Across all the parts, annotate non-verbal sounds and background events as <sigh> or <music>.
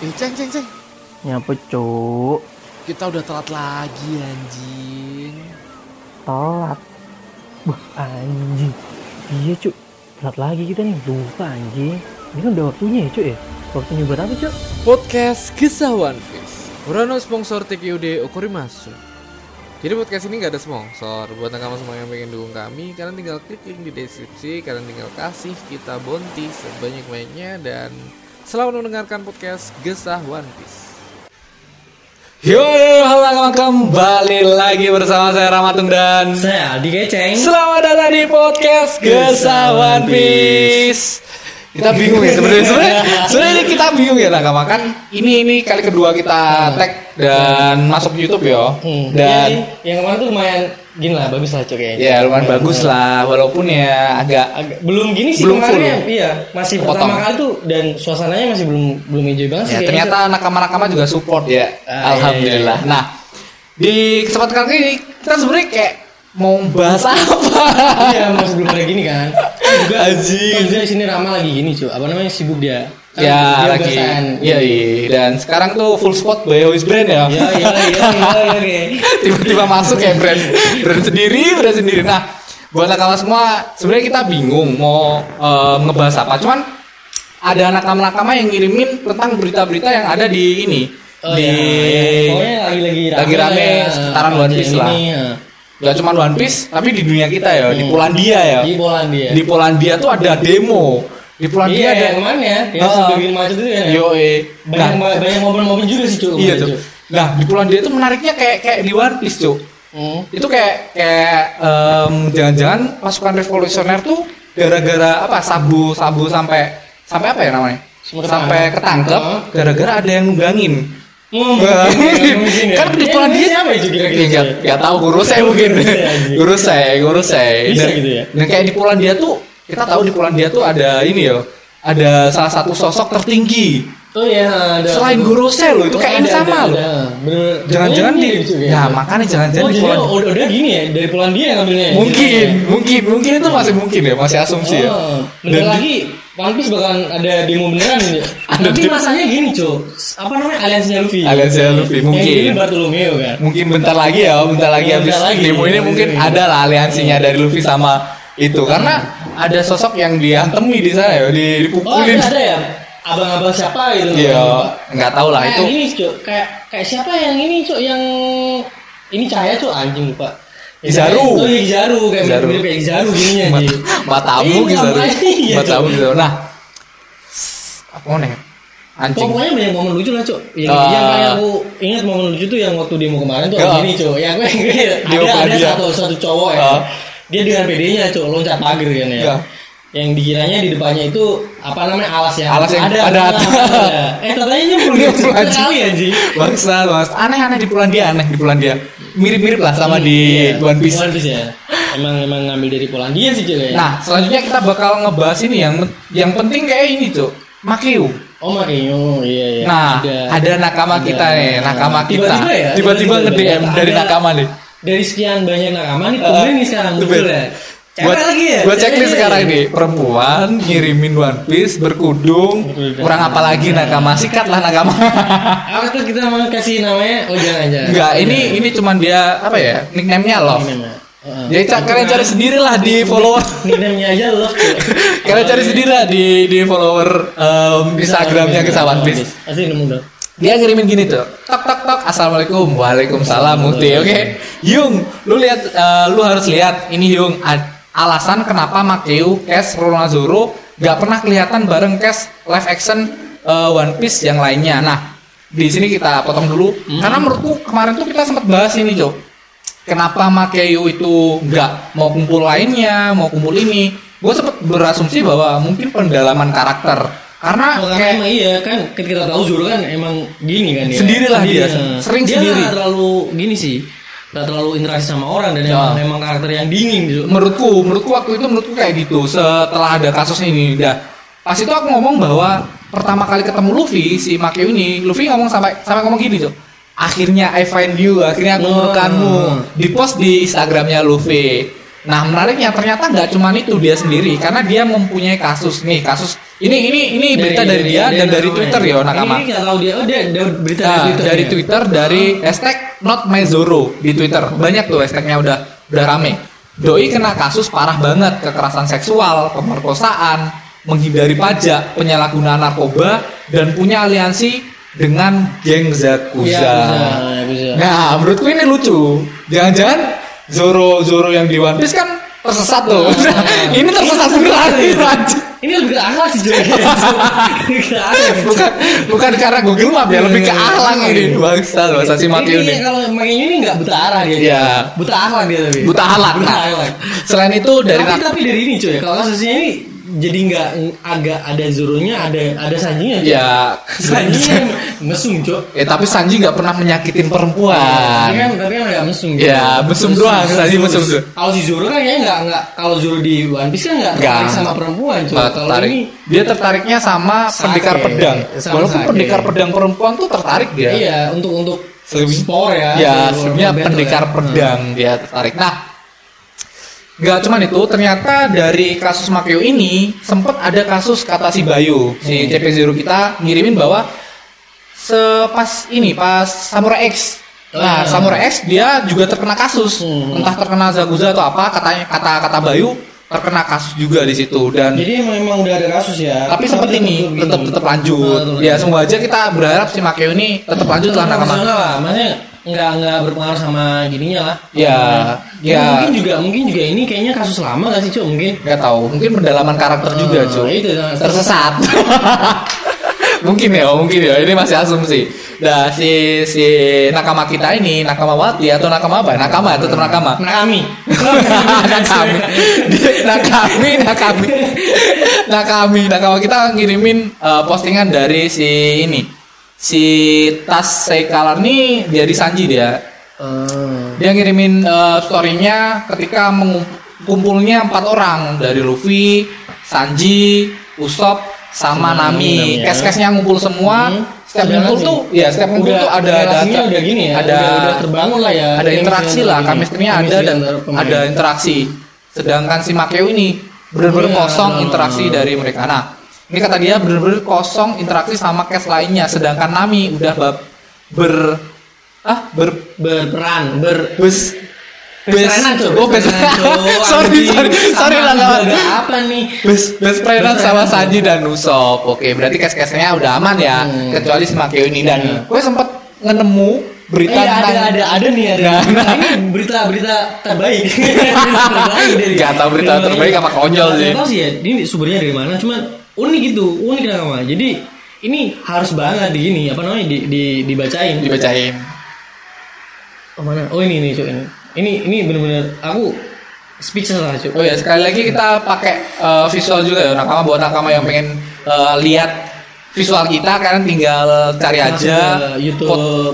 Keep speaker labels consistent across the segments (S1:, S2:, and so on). S1: Eh, ceng, ceng, ceng.
S2: Nyapa cuk?
S1: Kita udah telat lagi, anjing.
S2: Telat. Wah anjing. Iya cuk. Telat lagi kita nih. Lupa anjing. Ini kan udah waktunya ya cuk ya. Waktunya buat apa cuk?
S1: Podcast Kisah One Piece. Urano sponsor TQD Okorimasu. Jadi podcast ini nggak ada sponsor. Buat kamu semua yang pengen dukung kami, kalian tinggal klik link di deskripsi, kalian tinggal kasih kita bonti sebanyak-banyaknya dan selamat mendengarkan podcast Gesah One Piece. Yo, halo kawan kembali lagi bersama saya Ramatung dan
S2: Saya Aldi Keceng.
S1: Selamat datang di podcast Gesah One Piece. Kita bingung ya sebenarnya sebenarnya sebenarnya ini kita bingung ya lah makan. Ini ini kali kedua kita tag dan masuk YouTube ya. Dan
S2: yang kemarin tuh lumayan gini lah, bagus lah cuk
S1: ya lumayan bagus lah walaupun ya agak
S2: Agak- belum gini sih
S1: Belum
S2: kemarin
S1: full.
S2: ya, iya masih
S1: Potong.
S2: pertama kali tuh dan suasananya masih belum belum hijau banget sih
S1: ya,
S2: kayaknya.
S1: ternyata nakama-nakama juga support ya.
S2: Ah,
S1: Alhamdulillah. Nah, di kesempatan kali ini kita sebenarnya kayak mau bahas apa? <laughs>
S2: iya masih belum ada gini kan Kan juga
S1: Anjing.
S2: kan juga di sini Rama lagi gini cuy apa namanya sibuk dia Kan
S1: ya
S2: dia
S1: lagi
S2: ugasan.
S1: iya iya. dan sekarang tuh full spot by Always Brand ya
S2: iya iya iya iya iya
S1: tiba-tiba masuk kayak brand brand sendiri brand sendiri nah buat nakama semua sebenarnya kita bingung mau eh, ngebahas apa cuman ada nakama-nakama yang ngirimin tentang berita-berita yang ada di ini
S2: Oh,
S1: di
S2: iya, iya. pokoknya lagi lagi rame
S1: lagi
S2: lah
S1: rame
S2: ya.
S1: sekitaran One Piece
S2: Ini,
S1: lah.
S2: ya.
S1: gak cuman One Piece tapi di dunia kita ya
S2: Hmm.
S1: di Polandia ya
S2: di Polandia
S1: di Polandia tuh ada demo di Polandia
S2: iya
S1: ada
S2: yang mana ya yang
S1: Ah.
S2: sampai bikin macet itu kan ya
S1: yo eh
S2: banyak banyak mobil-mobil juga sih cuy
S1: Iya tuh. Nah di Polandia itu menariknya kayak kayak di One Piece Cuk.
S2: Hmm.
S1: Itu kayak kayak em, jangan-jangan pasukan revolusioner tuh gara-gara apa sabu sabu sampai sampai apa ya namanya?
S2: Sampai
S1: Sampai
S2: ketangkep.
S1: ketangkep
S2: Heeh.
S1: gara-gara ada yang nunggangin. <laughs>
S2: Mungkin, mungkin ya.
S1: kan di Iya,
S2: Yang
S1: Polandia
S2: siapa ya Cuk, kira-kira,
S1: Nggak-
S2: Cuk?
S1: nggak tahu guru saya mungkin.
S2: Guru saya, anjing.
S1: Guru saya, guru saya.
S2: Bisa
S1: Dan-
S2: gitu ya?
S1: Dan kayak di Polandia tuh kita tahu di Polandia tuh ada ini ya, ada salah satu sosok tertinggi
S2: Oh iya, ada.
S1: selain guru saya loh itu
S2: Ada,
S1: kayaknya sama
S2: ada,
S1: loh.
S2: ada. Bener.
S1: Jangan-jangan di,
S2: Mirip, cuy,
S1: ya makanya jangan-jangan
S2: oh,
S1: di
S2: jadi
S1: Polandia.
S2: udah, udah gini ya dari Polandia ngambilnya. ya? <laughs>
S1: Mungkin, mungkin, mungkin itu masih mungkin ya, masih asumsi ya.
S2: Oh, bentar
S1: Dan-
S2: lagi One Piece bakalan ada demo beneran ya.
S1: Ada
S2: Tapi
S1: demo.
S2: masanya gini, Cok. Apa namanya? Aliansinya Luffy.
S1: Aliansinya Luffy, mungkin.
S2: Yang ini Bartolomeo kan.
S1: Mungkin bentar lagi ya, bentar lagi
S2: Bentar
S1: habis
S2: lagi. Iya.
S1: demo ini
S2: Bentar
S1: mungkin
S2: lagi.
S1: ada lah aliansinya dari Luffy sama itu karena ada sosok yang diantemi di sana
S2: Oh,
S1: ya, di-
S2: ada,
S1: dipukulin.
S2: ada ya. Abang-abang siapa gitu.
S1: Iya, nggak tahu lah
S2: Kayak
S1: itu.
S2: Nah, ini, Cok. Kayak kayak siapa yang ini, Cok, yang ini cahaya, Cok, anjing lupa.
S1: Kizaru.
S2: Oh iya Kizaru, kayak
S1: Kizaru.
S2: mirip kayak Kizaru gininya anjing.
S1: Matamu
S2: Iya,
S1: gitu,
S2: makanya.
S1: matamu gitu. Nah, apa nih? Anjing.
S2: Pokoknya banyak momen lucu lah, Cuk. Yang,
S1: Ah.
S2: yang paling aku ingat momen lucu tuh yang waktu demo kemarin tuh
S1: Ya.
S2: gini, Cuk. Yang ada, ada
S1: Demo Polandia.
S2: satu satu cowok ya.
S1: Ah.
S2: Dia dengan PD-nya, Cuk, loncat pagar kan ya.
S1: Ya.
S2: Yang dikiranya di depannya itu apa namanya alas ya?
S1: Alas yang
S2: ada, <laughs>
S1: ada-
S2: ada. Eh, ternyata nyemplung dia
S1: Nyemplung, anjing.
S2: sekali anjing.
S1: Bangsa, bangsa. Aneh-aneh di Polandia, aneh di Polandia. Mirip-mirip lah sama di
S2: Iya,
S1: One Piece.
S2: One Piece ya. Emang emang ngambil dari Polandia sih, Cuk ya.
S1: Nah, selanjutnya kita bakal ngebahas ini yang yang penting kayak ini, Cuk. Makyu.
S2: Oh, makanya. Oh, iya iya.
S1: nah, ada, nakama
S2: Ada.
S1: kita nih, nakama kita.
S2: Tiba-tiba ya,
S1: Tiba-tiba
S2: tiba-tiba.
S1: nge-DM dari
S2: Ada-
S1: nakama nih.
S2: dari sekian banyak nakama nih
S1: Eh,
S2: tumben nih sekarang muncul ya Cewek
S1: buat,
S2: lagi ya
S1: Buat
S2: Cewek
S1: checklist
S2: lagi.
S1: sekarang nih, perempuan ngirimin One Piece berkudung,
S2: Berkudung.
S1: kurang apa lagi nakama, sikatlah
S2: <laughs>
S1: nakama.
S2: apa tuh kita mau kasih namanya oh jangan jangan
S1: Enggak,
S2: iya.
S1: ini ini cuman dia apa ya? Nickname-nya Love. Jadi ca- kalian
S2: Iya.
S1: cari sendirilah di
S2: <laughs>
S1: follower.
S2: nickname-nya aja love tuh
S1: <laughs> Kalian cari sendiri lah di di follower em, Instagramnya ke One Piece.
S2: pasti nemu dong
S1: Dia ngirimin gini tuh. Tok tok tok. Assalamualaikum. Waalaikumsalam Mukti. Oke. Yung, lu lihat eh, lu harus lihat ini Yung A- alasan kenapa Makeu Kes Ronazoro gak pernah kelihatan bareng Kes live action eh, One Piece yang lainnya. Nah, di sini kita potong dulu karena menurutku kemarin tuh kita sempat bahas ini, Cok. Kenapa Makeu itu nggak mau kumpul lainnya, mau kumpul ini? Gue sempet berasumsi bahwa mungkin pendalaman karakter karena
S2: Oh, karena
S1: Ah, kayak
S2: emang iya kan kita tahu Zoro kan emang gini kan ya.
S1: Sendirilah dia,
S2: Sendirinya.
S1: sering
S2: dia
S1: sendiri.
S2: nggak terlalu gini sih nggak terlalu interaksi sama orang dan
S1: Ya.
S2: emang, emang karakter yang dingin gitu
S1: menurutku menurutku waktu itu menurutku kayak gitu setelah ada kasus ini dah pas itu aku ngomong bahwa pertama kali ketemu Luffy si Makio ini Luffy ngomong sampai sampai ngomong gini Cok akhirnya I find you akhirnya aku
S2: Wah.
S1: Hmm. menemukanmu di post di Instagramnya Luffy Nah menariknya ternyata nggak cuma itu dia sendiri karena dia mempunyai kasus nih kasus ini ini ini berita dari dia dan dari Twitter ya Nakama.
S2: Ini nggak tahu dia, oh dia, dia berita
S1: Nah,
S2: dari Twitter.
S1: dari
S2: ya?
S1: Twitter dari hashtag not my Zoro di Twitter banyak tuh hashtagnya udah udah rame Doi kena kasus parah banget kekerasan seksual pemerkosaan menghindari pajak penyalahgunaan narkoba dan punya aliansi dengan geng
S2: Iya,
S1: Zakuza
S2: bisa, ya, bisa.
S1: nah menurutku ini lucu jangan-jangan Zoro Zoro yang di One Piece kan tersesat
S2: <laughs>
S1: tuh <laughs> ini tersesat beneran gitu,
S2: Iya.
S1: anjing.
S2: Ini lebih ke akhlak
S1: <laughs>
S2: sih Joy. Lebih ke akhlak.
S1: bukan bukan karena Google Map ya lebih ke alang ini bangsa loh si mati
S2: Iya. Ini
S1: ini
S2: kalau main ini nggak buta arah dia.
S1: Iya.
S2: Buta akhlak dia tapi.
S1: buta halak.
S2: Buta
S1: Nah,
S2: akhlak.
S1: Selain itu dari
S2: tapi,
S1: nak-
S2: tapi dari ini cuy, kalau kasusnya ini jadi nggak agak ada zurunya, ada ada sanjinya. cuy.
S1: ya <laughs>
S2: Sanjinya mesum cuy.
S1: ya tapi Sanji nggak pernah
S2: Tapi kan
S1: menyakitin perempuan.
S2: tapi kan nggak mesum.
S1: Iya, mesum doang, Sanji mesum tuh.
S2: Kalau si Zoro kan kayaknya nggak nggak kalau Zoro di One Piece kan nggak tertarik
S1: Nggak.
S2: sama perempuan cuy.
S1: Nggak
S2: Kalau
S1: Nah, tertarik.
S2: ini
S1: Dia tertariknya sama
S2: Sake.
S1: pendekar pedang.
S2: Sama
S1: Walaupun
S2: sake.
S1: pendekar pedang perempuan tuh tertarik dia.
S2: iya untuk untuk
S1: Lebih-
S2: spor ya.
S1: ya
S2: untuk-
S1: sebenarnya
S2: untuk battle
S1: pendekar
S2: ya.
S1: pedang dia tertarik nah nggak cuman itu ternyata dari kasus Makio ini sempat ada kasus kata si Bayu si CP0 kita ngirimin bahwa sepas ini pas Samurai X
S2: Oh, iya.
S1: nah Samurai X dia juga terkena kasus
S2: Hmm.
S1: entah terkena Zaguza atau apa katanya kata kata Bayu terkena kasus juga di situ dan
S2: Hmm. Jadi emang, emang udah ada kasus ya.
S1: tapi seperti ini tetap tetap
S2: Tetap-
S1: lanjut
S2: gitu. tetap
S1: ya semoga aja kita berharap si Makio ini tetap lanjut lah nakama
S2: Maksudnya lah, maksudnya nggak nggak berpengaruh sama gininya lah.
S1: Ya,
S2: Ya,
S1: ya.
S2: Mungkin juga mungkin juga ini kayaknya kasus lama nggak sih cuy mungkin.
S1: nggak tahu mungkin pendalaman karakter juga
S2: Ah,
S1: cuy <laughs>
S2: itu, nah, <laughs>
S1: tersesat mungkin ya mungkin ya ini masih asumsi nah si si nakama kita ini nakama wati atau nakama apa nakama tetap nakama
S2: Nakami.
S1: <laughs> nakami Dia- nakami nakami nakami nakama kita ngirimin eh, postingan dari si ini si tas sekalar nih dari sanji dia
S2: Ah.
S1: dia ngirimin storynya story-nya ketika mengumpulnya empat orang dari Luffy, Sanji, Usopp, sama
S2: Sama Nami,
S1: Nami.
S2: ya.
S1: Kes-kesnya ngumpul semua.
S2: Hmm.
S1: Setiap
S2: Udah
S1: ngumpul
S2: langsung.
S1: tuh, ya setiap ngumpul
S2: Udah-
S1: tuh ada ada
S2: relasinya udah gini ya.
S1: ada
S2: udah, udah terbangun lah ya.
S1: ada interaksi lah, chemistry-nya ada dan ada
S2: ada
S1: interaksi. Sedangkan si Makeo ini bener-bener
S2: Iya,
S1: kosong
S2: dong.
S1: interaksi dari mereka. Nah, ini kata dia bener-bener kosong interaksi sama Kes lainnya. Sedangkan Nami udah bab- ber ah ber
S2: berperan ber
S1: bus bus
S2: Berenan, cuy.
S1: oh bus
S2: Berenan, cuy.
S1: <laughs> sorry
S2: Anjing,
S1: sorry sorry
S2: sama
S1: lah kawan
S2: juga apa nih?
S1: bus bus prenan
S2: Bus
S1: sama
S2: prenan.
S1: Sanji dan Nusop oke berarti kes kesnya udah aman ya
S2: Hmm.
S1: kecuali si Makio ini
S2: Iya.
S1: dan gue sempet ngenemu berita
S2: Eh, ada,
S1: tentang
S2: ada, ada nih, ada.
S1: Nah,
S2: Berita ini berita-berita
S1: <laughs>
S2: terbaik. Berita terbaik dari. Iya,
S1: Gak tau berita
S2: dari-
S1: terbaik apa konyol
S2: Gak
S1: sih.
S2: tau sih ya, ini sumbernya dari mana, cuman unik gitu, unik nama. Jadi ini harus banget di ini, apa namanya, di, di, dibacain.
S1: dibacain
S2: Oh mana? Oh ini nih, cuy, ini. Ini, ini bener-bener, aku speechless lah, cuy.
S1: oh ya sekali lagi kita pakai eh, visual juga ya nakama buat nakama yang pengen eh, lihat visual kita kalian tinggal cari
S2: Langsung
S1: aja
S2: ke YouTube.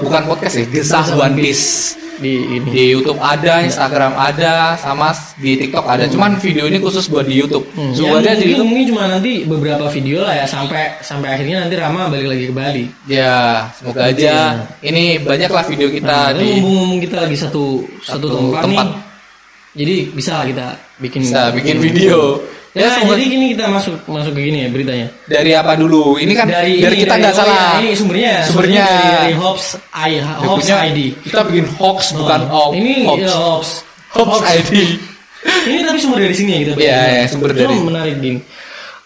S1: bukan podcast ya gesah One Piece
S2: Di ini.
S1: di YouTube ada, Instagram ada, sama di TikTok ada. Cuman video ini khusus buat di YouTube.
S2: Hmm.
S1: Semoga
S2: Ya,
S1: di
S2: mungkin,
S1: YouTube
S2: mungkin cuma nanti beberapa video lah ya sampai sampai akhirnya nanti Rama balik lagi ke Bali.
S1: ya, semoga aja ini banyaklah video kita
S2: Iya. Nah,
S1: di
S2: mumpung kita lagi satu satu,
S1: Satu
S2: tempat,
S1: tempat.
S2: nih. Jadi bisa lah kita bikin
S1: bisa bikin video.
S2: Ya,
S1: Ya, semoga-
S2: jadi gini kita masuk masuk ke gini ya beritanya.
S1: dari apa dulu? Ini kan dari,
S2: ini,
S1: kita
S2: dari-
S1: nggak
S2: oh
S1: salah.
S2: iya, ini sumbernya
S1: Sumbernya.
S2: dari, dari Hobbs I Hobbs
S1: Bukunya
S2: ID.
S1: Kita bikin hoax bukan
S2: Oh,
S1: hoax.
S2: Ini
S1: hoax.
S2: ya, Hobbs.
S1: Hoax ID.
S2: ini tapi sumber dari sini ya kita.
S1: Iya, iya, sumber
S2: Cuma
S1: dari-
S2: menarik din.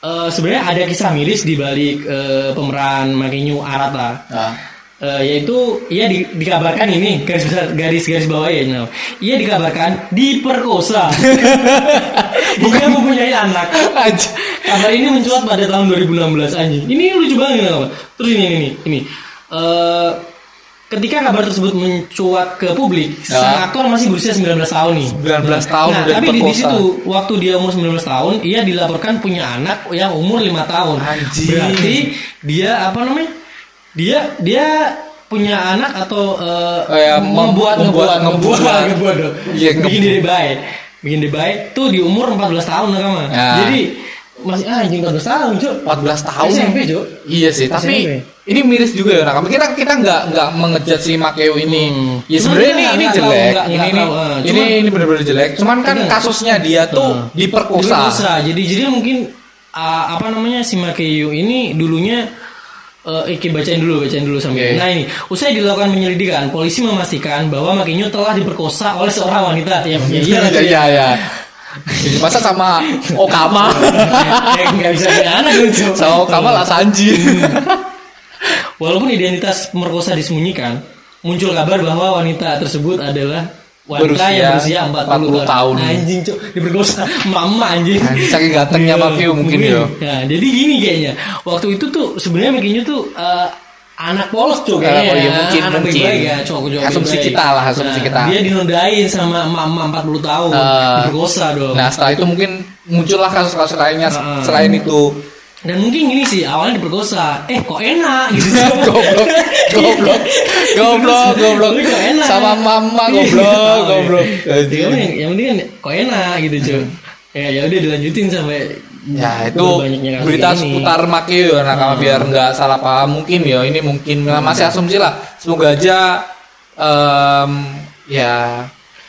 S2: Eh, sebenarnya ada kisah miris di balik eh, pemeran Makinyu Arata.
S1: Nah,
S2: Eh, yaitu ia di- dikabarkan ini garis besar garis garis bawah ya Nel. ia dikabarkan
S1: <laughs>
S2: diperkosa dia mempunyai anak
S1: aja.
S2: kabar ini mencuat pada tahun 2016 anjing ini lucu banget Nel. terus ini ini ini, ini. Eh, ketika kabar tersebut mencuat ke publik
S1: Ya.
S2: sang aktor masih berusia 19 tahun nih
S1: 19 tahun
S2: nah,
S1: udah
S2: tapi di, di
S1: diperkosa.
S2: situ waktu dia umur 19 tahun ia dilaporkan punya anak yang umur 5 tahun
S1: Anjing.
S2: berarti dia apa namanya dia dia punya anak atau eh,
S1: Oh ya, mem-
S2: membuat
S1: membuat-
S2: membuat membuat
S1: membuat.
S2: membuat dong.
S1: Iya,
S2: bikin
S1: ngebuat.
S2: diri baik bikin diri baik tuh di umur 14 tahun nakama
S1: Ya.
S2: jadi masih ah, anjing 14 tahun cuk
S1: 14 tahun.
S2: SMP cuk
S1: Iya sih, tapi
S2: SMP.
S1: ini miris juga ya. Nak. Kita kita nggak nggak mengejat si Makeo ini.
S2: Hmm.
S1: Ya
S2: Cuman
S1: sebenarnya
S2: kita
S1: ini ini
S2: nggak tahu,
S1: jelek.
S2: nggak-
S1: Ini
S2: nggak
S1: ini
S2: tahu, eh.
S1: ini
S2: Cuman-
S1: ini benar-benar jelek. Cuman kan
S2: Iya.
S1: kasusnya dia tuh
S2: Nah.
S1: diperkosa.
S2: Diperkosa. Jadi jadi mungkin uh, apa namanya si Makiyu ini dulunya uh, Iki bacain dulu, bacain dulu sampai.
S1: Oke.
S2: Nah ini, usai dilakukan penyelidikan, polisi memastikan bahwa Makiyu telah diperkosa oleh seorang wanita. Ya, ya, iya,
S1: Iya
S2: lah, cuy.
S1: iya iya. Masa sama
S2: <laughs>
S1: Okama
S2: Ya, nggak bisa punya anak dong, cuy.
S1: sama Okama lah Sanji.
S2: Hmm. Walaupun identitas pemerkosa disembunyikan, muncul kabar bahwa wanita tersebut adalah wanita
S1: Berusia
S2: yang berusia 40,
S1: 40 tahun.
S2: Anjing, cuk, diperkosa mama anjing.
S1: Saking gantengnya
S2: Iya,
S1: Makeo mungkin ya.
S2: Ya, jadi gini kayaknya. Waktu itu tuh sebenarnya Makeo tuh eh, anak polos cuy
S1: Anak
S2: kayaknya.
S1: polos, iya, mungkin,
S2: anak
S1: mungkin.
S2: baik-baik ya, cowok cowok
S1: Asumsi
S2: baik-baik. Nah,
S1: kita lah, asumsi kita.
S2: Dia dinodain sama mama 40 tahun,
S1: Eh,
S2: diperkosa dong.
S1: Nah setelah itu mungkin muncullah kasus-kasus lainnya
S2: Heeh.
S1: selain itu.
S2: Dan mungkin gini sih, awalnya diperkosa. Eh, kok
S1: <laughs>
S2: enak gitu.
S1: goblok goblok goblok goblok
S2: Tapi kok enak.
S1: sama mama
S2: Iya.
S1: goblok goblok
S2: Ya, kan yang, yang penting kan kok enak gitu
S1: <laughs>
S2: cuy ya ya udah dilanjutin sampai Iya,
S1: ya itu
S2: berbanyaknya kasus
S1: berita
S2: kayak gini.
S1: seputar Makio ya nakama biar nggak salah paham mungkin ya ini mungkin nah, masih asumsi lah semoga aja em, ya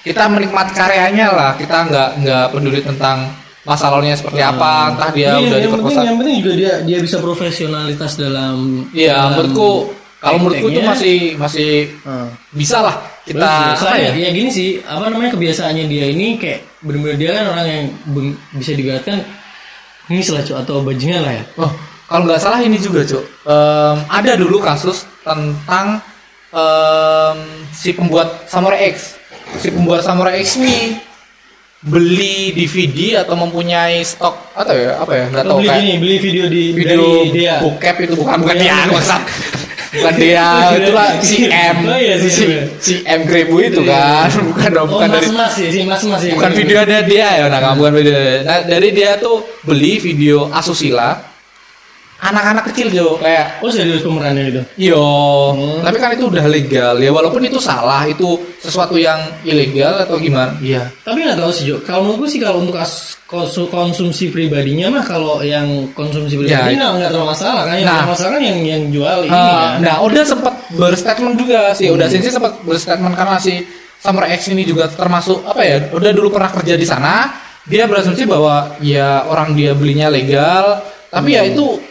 S1: kita menikmati karyanya lah kita nggak nggak peduli tentang masa lalunya seperti apa entah dia
S2: Iya,
S1: udah
S2: yang penting
S1: diperkosa
S2: yang penting juga dia dia bisa profesionalitas dalam
S1: iya
S2: dalam
S1: menurutku kalau menurutku itu
S2: tekniknya.
S1: masih masih
S2: Heeh.
S1: bisa lah kita
S2: Terus,
S1: apa
S2: soalnya
S1: ya?
S2: ya gini sih apa namanya kebiasaannya dia ini kayak bener-bener dia kan orang yang beng- bisa dikatakan ngemis lah cuy atau bajingan lah ya
S1: Oh, kalau nggak salah ini juga, Cuk. Em, ada dulu kasus tentang em, si pembuat Samurai X. Si pembuat Samurai X ini beli DVD atau mempunyai stok atau ya apa ya nggak
S2: atau
S1: tahu
S2: beli
S1: kayak
S2: gini beli video di
S1: video
S2: dari dia
S1: bokep itu bukan bukan
S2: Iya.
S1: dia
S2: <laughs>
S1: maksud bukan dia itulah si M
S2: Oh, iya, si
S1: si,
S2: M. Iya,
S1: si M Grebu itu kan <laughs> bukan dong,
S2: oh,
S1: bukan dari
S2: mas mas ya si mas mas ya
S1: bukan video ada dia ya nah kamu bukan video dia. nah, dari dia tuh beli video asusila anak-anak kecil jo kayak
S2: oh serius pemerannya itu
S1: yo tapi kan itu udah legal ya walaupun itu salah itu sesuatu yang ilegal atau gimana iya
S2: Tapi nggak tahu sih Jo. Kalau menurut gue sih kalau untuk as- konsu- konsumsi pribadinya mah kalau yang konsumsi pribadi
S1: Ya,
S2: nggak nggak terlalu masalah kan. Yang
S1: Nah.
S2: terlalu masalah kan yang yang jual ini
S1: Ah,
S2: kan.
S1: nah udah sempat berstatement juga sih udah sih sempat berstatement karena si Samurai X ini juga termasuk apa ya udah dulu pernah kerja di sana dia berasumsi bahwa ya orang dia belinya legal tapi ya itu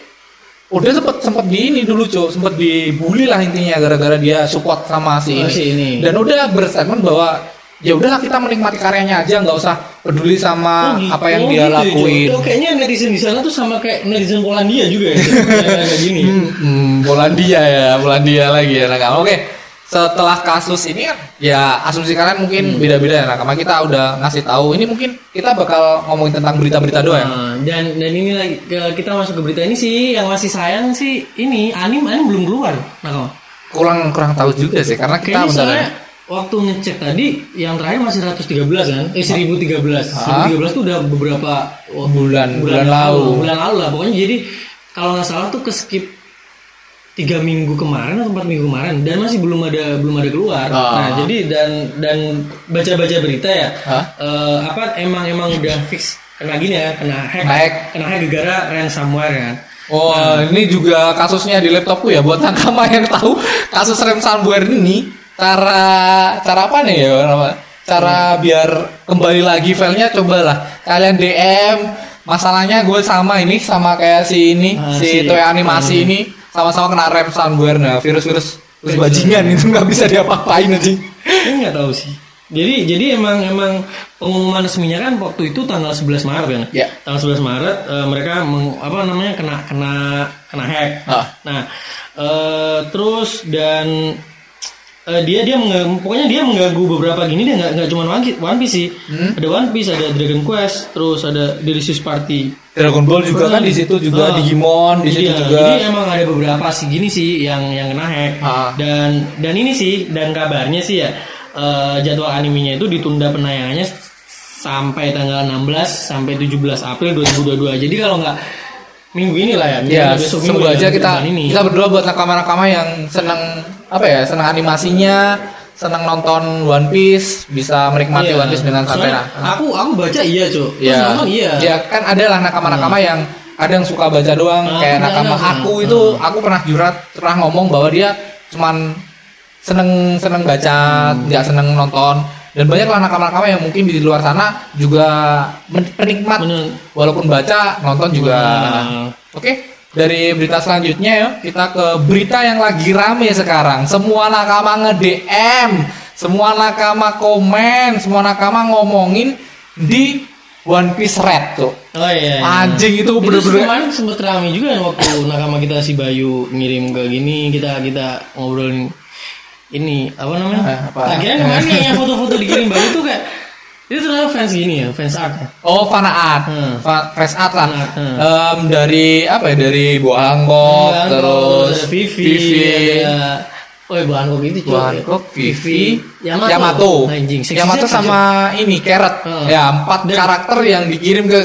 S1: udah sempat sempat di ini dulu cuy sempat dibully lah intinya gara-gara dia support sama si
S2: Oh,
S1: ini.
S2: si ini.
S1: dan udah berstatement bahwa ya udahlah kita menikmati karyanya aja nggak usah peduli
S2: Oh,
S1: sama
S2: gitu.
S1: apa yang
S2: Oh, gitu
S1: dia
S2: ya, Jo.
S1: lakuin
S2: Tuh, kayaknya netizen di sana tuh sama kayak netizen Polandia juga ya.
S1: <laughs>
S2: Jo. Kayak kayak gini.
S1: Hmm, hmm, Polandia ya, Polandia lagi ya Nakama. Oke, setelah kasus ini kan, ya asumsi kalian mungkin
S2: Hmm.
S1: beda-beda ya Nakama. Kita udah ngasih tahu, ini mungkin kita bakal ngomongin tentang berita-berita doang. ya.
S2: Nah, dan dan ini lagi ke- kita masuk ke berita ini sih yang masih sayang sih ini anim anim belum keluar. Nah, kalau-
S1: Kurang kurang tahu juga sih, karena
S2: Kayaknya
S1: kita bentar
S2: soalnya
S1: ya.
S2: waktu ngecek tadi yang terakhir masih 113 kan? Eh 1013.
S1: Hah?
S2: 1013 tuh udah beberapa wah,
S1: Bulan- bulan
S2: yang
S1: lalu.
S2: Bulan lalu lah pokoknya jadi kalau nggak salah tuh ke skip 3 minggu kemarin atau 4 minggu kemarin dan masih belum ada belum ada keluar.
S1: Ah.
S2: Nah, jadi dan dan baca-baca berita ya.
S1: Hah?
S2: eh, apa emang emang udah fix kena gini ya, kena hack.
S1: Hack.
S2: Kena hack gara ransomware kan.
S1: Oh, ini juga kasusnya di laptopku ya. Buat Nakama yang tahu kasus rem ransomware ini, cara cara apa nih ya? Nama? Cara biar kembali lagi filenya cobalah kalian DM. Masalahnya gue sama ini sama kayak si ini,
S2: Ah, si-
S1: si Toei animasi ini sama-sama kena rem ransomware nah virus-virus virus bajingan itu nggak bisa diapa-apain aja.
S2: Saya nggak tahu sih. Jadi jadi emang emang pengumuman resminya kan waktu itu tanggal 11 Maret kan.
S1: Iya.
S2: Tanggal 11 Maret eh, mereka meng- apa namanya kena kena kena hack.
S1: Ah.
S2: Nah, eh, terus dan eh, dia dia mengga- pokoknya dia mengganggu beberapa gini dia nggak nggak cuma One Piece, One Piece sih. Ada One Piece, ada Dragon Quest, terus ada Delicious Party.
S1: Dragon Ball juga kan di situ
S2: Ah.
S1: juga Digimon di situ
S2: Iya,
S1: juga.
S2: Jadi emang ada beberapa sih gini sih yang yang kena hack.
S1: Ah.
S2: Dan dan ini sih dan kabarnya sih ya eh, jadwal animenya itu ditunda penayangannya sampai tanggal 16 sampai 17 April 2022. Jadi kalau nggak minggu ini lah ya. minggu
S1: Ya,
S2: ini, besok minggu
S1: semoga
S2: ya,
S1: aja
S2: minggu
S1: kita
S2: depan ini.
S1: kita berdua buat nakama-nakama yang senang apa ya, senang animasinya, senang nonton One Piece bisa menikmati
S2: Iya.
S1: One Piece dengan santai.
S2: Soalnya
S1: Nah,
S2: Aku aku baca iya, Cuk. Terus
S1: Iya.
S2: nonton iya. Hmm.
S1: Ya kan ada lah nakama-nakama yang kadang suka baca doang
S2: Ah,
S1: kayak
S2: ada,
S1: nakama
S2: ada.
S1: aku itu aku pernah jurat pernah ngomong bahwa dia cuman seneng seneng baca
S2: Hmm.
S1: nggak seneng nonton dan banyak lah nakama-nakama yang mungkin di luar sana juga men- penikmat
S2: Bener.
S1: walaupun baca nonton juga
S2: Nah.
S1: oke dari berita selanjutnya ya kita ke berita yang lagi rame sekarang semua nakama nge DM semua nakama komen semua nakama ngomongin di One Piece Red tuh
S2: Oh iya. iya.
S1: anjing itu
S2: Itu
S1: bener-bener
S2: kemarin sempet rame juga kan waktu nakama kita si Bayu ngirim ke gini kita kita ngobrolin ini apa namanya?
S1: Eh, apa?
S2: Akhirnya kemarin yang- yang foto-foto dikirim Bayu tuh kayak itu ternyata fans gini ya, fans art. ya?
S1: Oh, fana art,
S2: Hmm.
S1: Fa- fans art lah.
S2: Fana art, hmm.
S1: Em, dari apa ya? Dari Buah Angkok,
S2: Bangkok,
S1: terus
S2: Kan, ada Vivi,
S1: Vivi,
S2: ada Oh, ya, Bangkok itu cuy.
S1: Buah Angkok, Vivi,
S2: Yamato.
S1: Yamato,
S2: Anjing, seksi
S1: Yamato
S2: sekali,
S1: sama ini Carrot.
S2: Hmm.
S1: Ya, empat
S2: Dan-
S1: karakter yang dikirim ke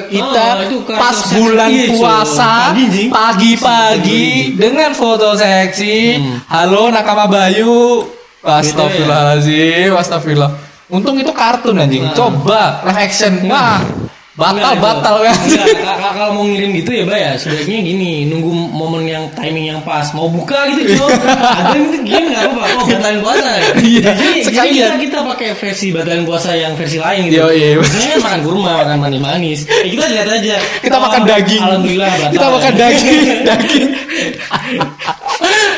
S2: Oh,
S1: kita
S2: itu karakter
S1: pas
S2: seksi,
S1: bulan
S2: iya, cuy.
S1: puasa
S2: Pagi, anjing.
S1: pagi-pagi dengan foto seksi.
S2: Hmm.
S1: Halo Nakama Bayu.
S2: ya?
S1: Astagfirullahaladzim, astagfirullah. Untung itu kartun anjing.
S2: Nah.
S1: Coba live action. Wah,
S2: Enggak,
S1: batal-batal
S2: itu.
S1: kan.
S2: Hmm. Enggak, kak- kak- kalau mau ngirim gitu ya, Mbak ya, sebaiknya gini, nunggu momen yang timing yang pas. Mau buka gitu, cuy. Ada yang itu gini enggak apa-apa. Oh, batalan puasa. ya?
S1: <laughs> Iya,
S2: Jadi, jadi
S1: sekalian.
S2: kita, kita pakai versi batalan puasa yang versi lain gitu.
S1: Yoi.
S2: Biasanya kan makan kurma, makan manis-manis. Eh, kita lihat aja.
S1: <laughs> kita
S2: Oh,
S1: makan daging
S2: Alhamdulillah batal. ya.
S1: kita makan daging <laughs>
S2: <laughs>
S1: daging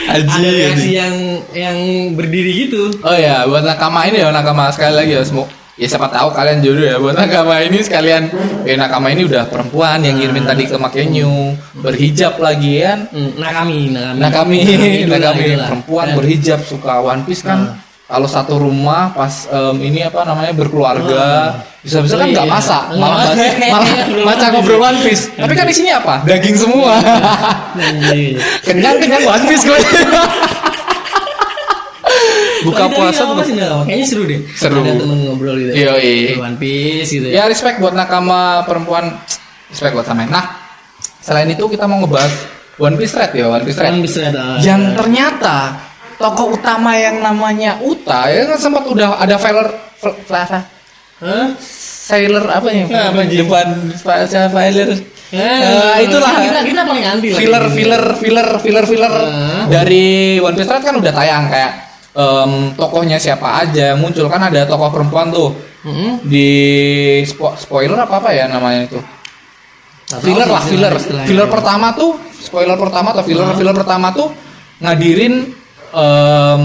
S2: Ada
S1: Aji,
S2: reaksi
S1: Aji.
S2: yang yang berdiri gitu.
S1: oh ya buat nakama ini ya nakama sekali lagi ya semua ya siapa tahu kalian jodoh ya buat nakama ini sekalian ya nakama ini udah perempuan yang ngirimin tadi ke Makenyu berhijab lagi kan
S2: Hmm, Nah kami, nah kami,
S1: nah kami
S2: idola,
S1: nah kami
S2: idola.
S1: perempuan
S2: Dan-
S1: berhijab suka one piece kan kalau satu rumah pas em, ini apa namanya berkeluarga bisa-bisa kan nggak
S2: Iya.
S1: masak
S2: Nggak
S1: malah <laughs>
S2: masak.
S1: malah maca ngobrol Iya, one piece tapi kan isinya apa daging semua
S2: <laughs> Anjir.
S1: <laughs> kenyang kenyang One Piece gue <laughs> buka
S2: Tapi- tapi
S1: puasa
S2: nggak apa-apa sih, nggak apa-apa. Kayaknya seru deh.
S1: Seru.
S2: Ada temen ngobrol gitu.
S1: Yoi.
S2: One Piece gitu.
S1: ya respect buat nakama perempuan respect buat sama nah selain itu kita mau ngebahas One Piece Red ya One Piece Red
S2: One Piece Red, ah.
S1: yang ternyata tokoh utama yang namanya Uta ya kan sempat udah ada Valor Flava
S2: Hah?
S1: Sailor apa ya
S2: Nah, apa, Ji?
S1: depan Sailor Eh, itulah
S2: Kita kita paling anti lah.
S1: filler filler filler filler filler
S2: Hmm.
S1: dari One Piece Red kan udah tayang kayak em, tokohnya siapa aja yang muncul kan ada tokoh perempuan tuh
S2: Mm-mm.
S1: di spo- spoiler apa apa ya namanya itu
S2: Nggak tahu sih
S1: filler lah
S2: istilah-
S1: filler
S2: istilahnya.
S1: filler pertama tuh spoiler pertama atau filler filler pertama tuh ngadirin em,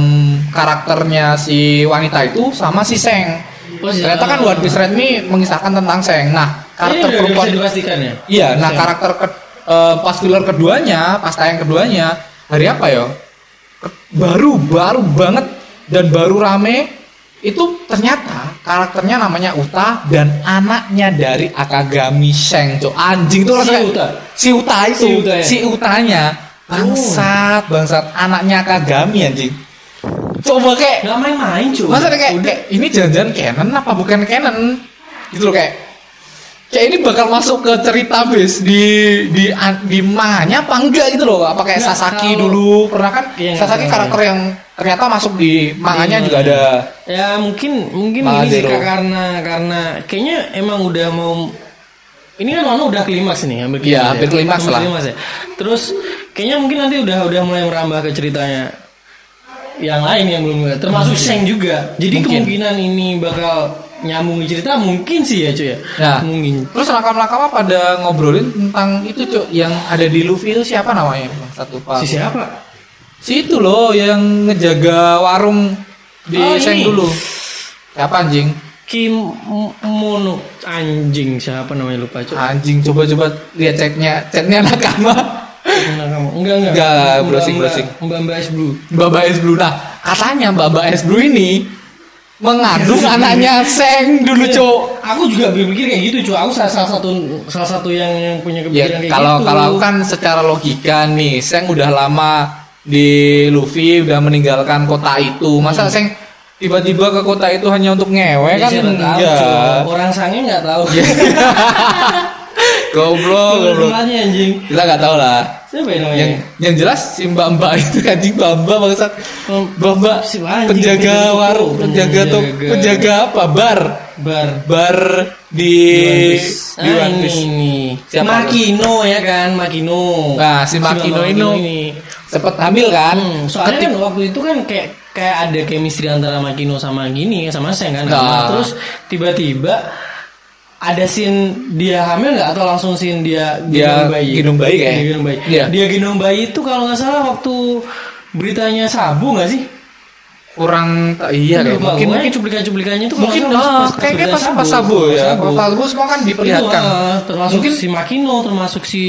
S1: karakternya si wanita itu sama si Seng
S2: Oh, si-
S1: ternyata kan One Piece Red ini mengisahkan tentang Seng nah
S2: Ini
S1: karakter
S2: udah- udah
S1: perempuan
S2: Iya, bisa dipastikan ya.
S1: Iya, nah karakter ke- eh, pas filler keduanya, pas tayang keduanya, hari apa ya? Ke- Baru, baru banget dan baru rame itu ternyata karakternya namanya Uta dan anaknya dari Akagami Sheng. Cok. anjing tuh
S2: Si
S1: rasanya-
S2: Uta?
S1: Si Uta itu.
S2: Si Uta ya? Oh.
S1: Si Utanya. Bangsat, bangsat anaknya Akagami anjing. Coba kayak
S2: Nggak main-main cuy.
S1: Masa ada kayak,
S2: Udah.
S1: kayak ini jangan-jangan canon apa bukan canon? Gitu loh kayak kayak ini bakal masuk ke cerita bis di di an- di manganya apa enggak gitu loh apa kayak
S2: Enggak,
S1: Sasaki
S2: kalau-
S1: dulu pernah kan
S2: Iya, enggak,
S1: Sasaki
S2: enggak,
S1: karakter yang ternyata masuk di manganya
S2: Iya.
S1: juga ada
S2: Ya mungkin mungkin
S1: Malah
S2: ini sih
S1: zero.
S2: Kak, karena karena kayaknya emang udah mau ini kan Wano udah kelimaks nih hampir
S1: Iya, hampir klimaks lah.
S2: ya. Terus kayaknya mungkin nanti udah udah mulai merambah ke ceritanya yang lain yang belum termasuk Sheng juga. Jadi
S1: Mungkin.
S2: kemungkinan ini bakal nyambung ke cerita mungkin sih ya cuy ya.
S1: Nah.
S2: Mungkin.
S1: terus nakam-nakama pada ngobrolin tentang itu cuk yang ada di Luffy itu siapa namanya satu pak
S2: Si siapa?
S1: si itu loh yang ngejaga warung di
S2: Oh,
S1: Seng
S2: ini.
S1: dulu siapa anjing
S2: Kim Mono anjing siapa namanya lupa cuy.
S1: Anjing coba-coba lihat chatnya, chatnya nakama.
S2: Enggak kamu. Enggak enggak.
S1: Enggak,
S2: Mbak-
S1: browsing,
S2: Mbak-
S1: browsing.
S2: Mbak Mbak S Blue.
S1: Mbak Mbak S Blue. Nah, katanya Mbak Mbak S Blue ini mengandung
S2: Iya.
S1: anaknya Seng dulu, Cok.
S2: Aku juga berpikir kayak gitu, cuy. Aku salah, salah satu salah satu yang, yang punya
S1: Ya,
S2: kepikiran kayak
S1: kalau
S2: gitu.
S1: kalau aku kan secara logika nih, Seng udah lama di Luffy udah meninggalkan kota itu. Masa
S2: Hmm.
S1: Seng tiba-tiba ke kota itu hanya untuk ngewe
S2: Ya,
S1: kan?
S2: siapa tahu,
S1: Enggak.
S2: <laughs> cuy. orang sange nggak tahu.
S1: Goblok, goblok.
S2: Jumlahnya anjing.
S1: Kita nggak tahu lah.
S2: Siapa ya namanya?
S1: Yang yang jelas si Mbak Mbak itu anjing Mbak Mbak bangsat.
S2: Oh,
S1: Mbak Mbak
S2: si anjing,
S1: penjaga
S2: penjaga
S1: warung,
S2: toko.
S1: penjaga tuh,
S2: Penjaga-
S1: penjaga apa? Bar,
S2: Bar.
S1: bar di di
S2: Ah,
S1: One Piece.
S2: ini nih.
S1: Siapa
S2: Makino ya kan, Makino.
S1: Nah, si Makino ini sempet hamil kan?
S2: Hmm, soalnya kan waktu itu kan kayak kayak ada chemistry antara Makino sama gini sama Seng kan.
S1: Nah.
S2: Terus tiba-tiba ada scene dia hamil nggak atau langsung scene dia
S1: Dia
S2: gendong bayi?
S1: gendong bayi kayaknya.
S2: Dia gendong bayi.
S1: Iya.
S2: Dia gendong bayi itu kalau nggak salah waktu beritanya Sabu nggak sih?
S1: kurang iya
S2: Lupa,
S1: kayak mungkin
S2: pokoknya
S1: mungkin
S2: cuplikan-cuplikan itu kalau
S1: mungkin
S2: nggak salah
S1: ah, kayaknya pas pas sabu ya. Pas sabu semua kan diperlihatkan.
S2: Itu, ah, termasuk
S1: Mungkin-
S2: si Makino, termasuk si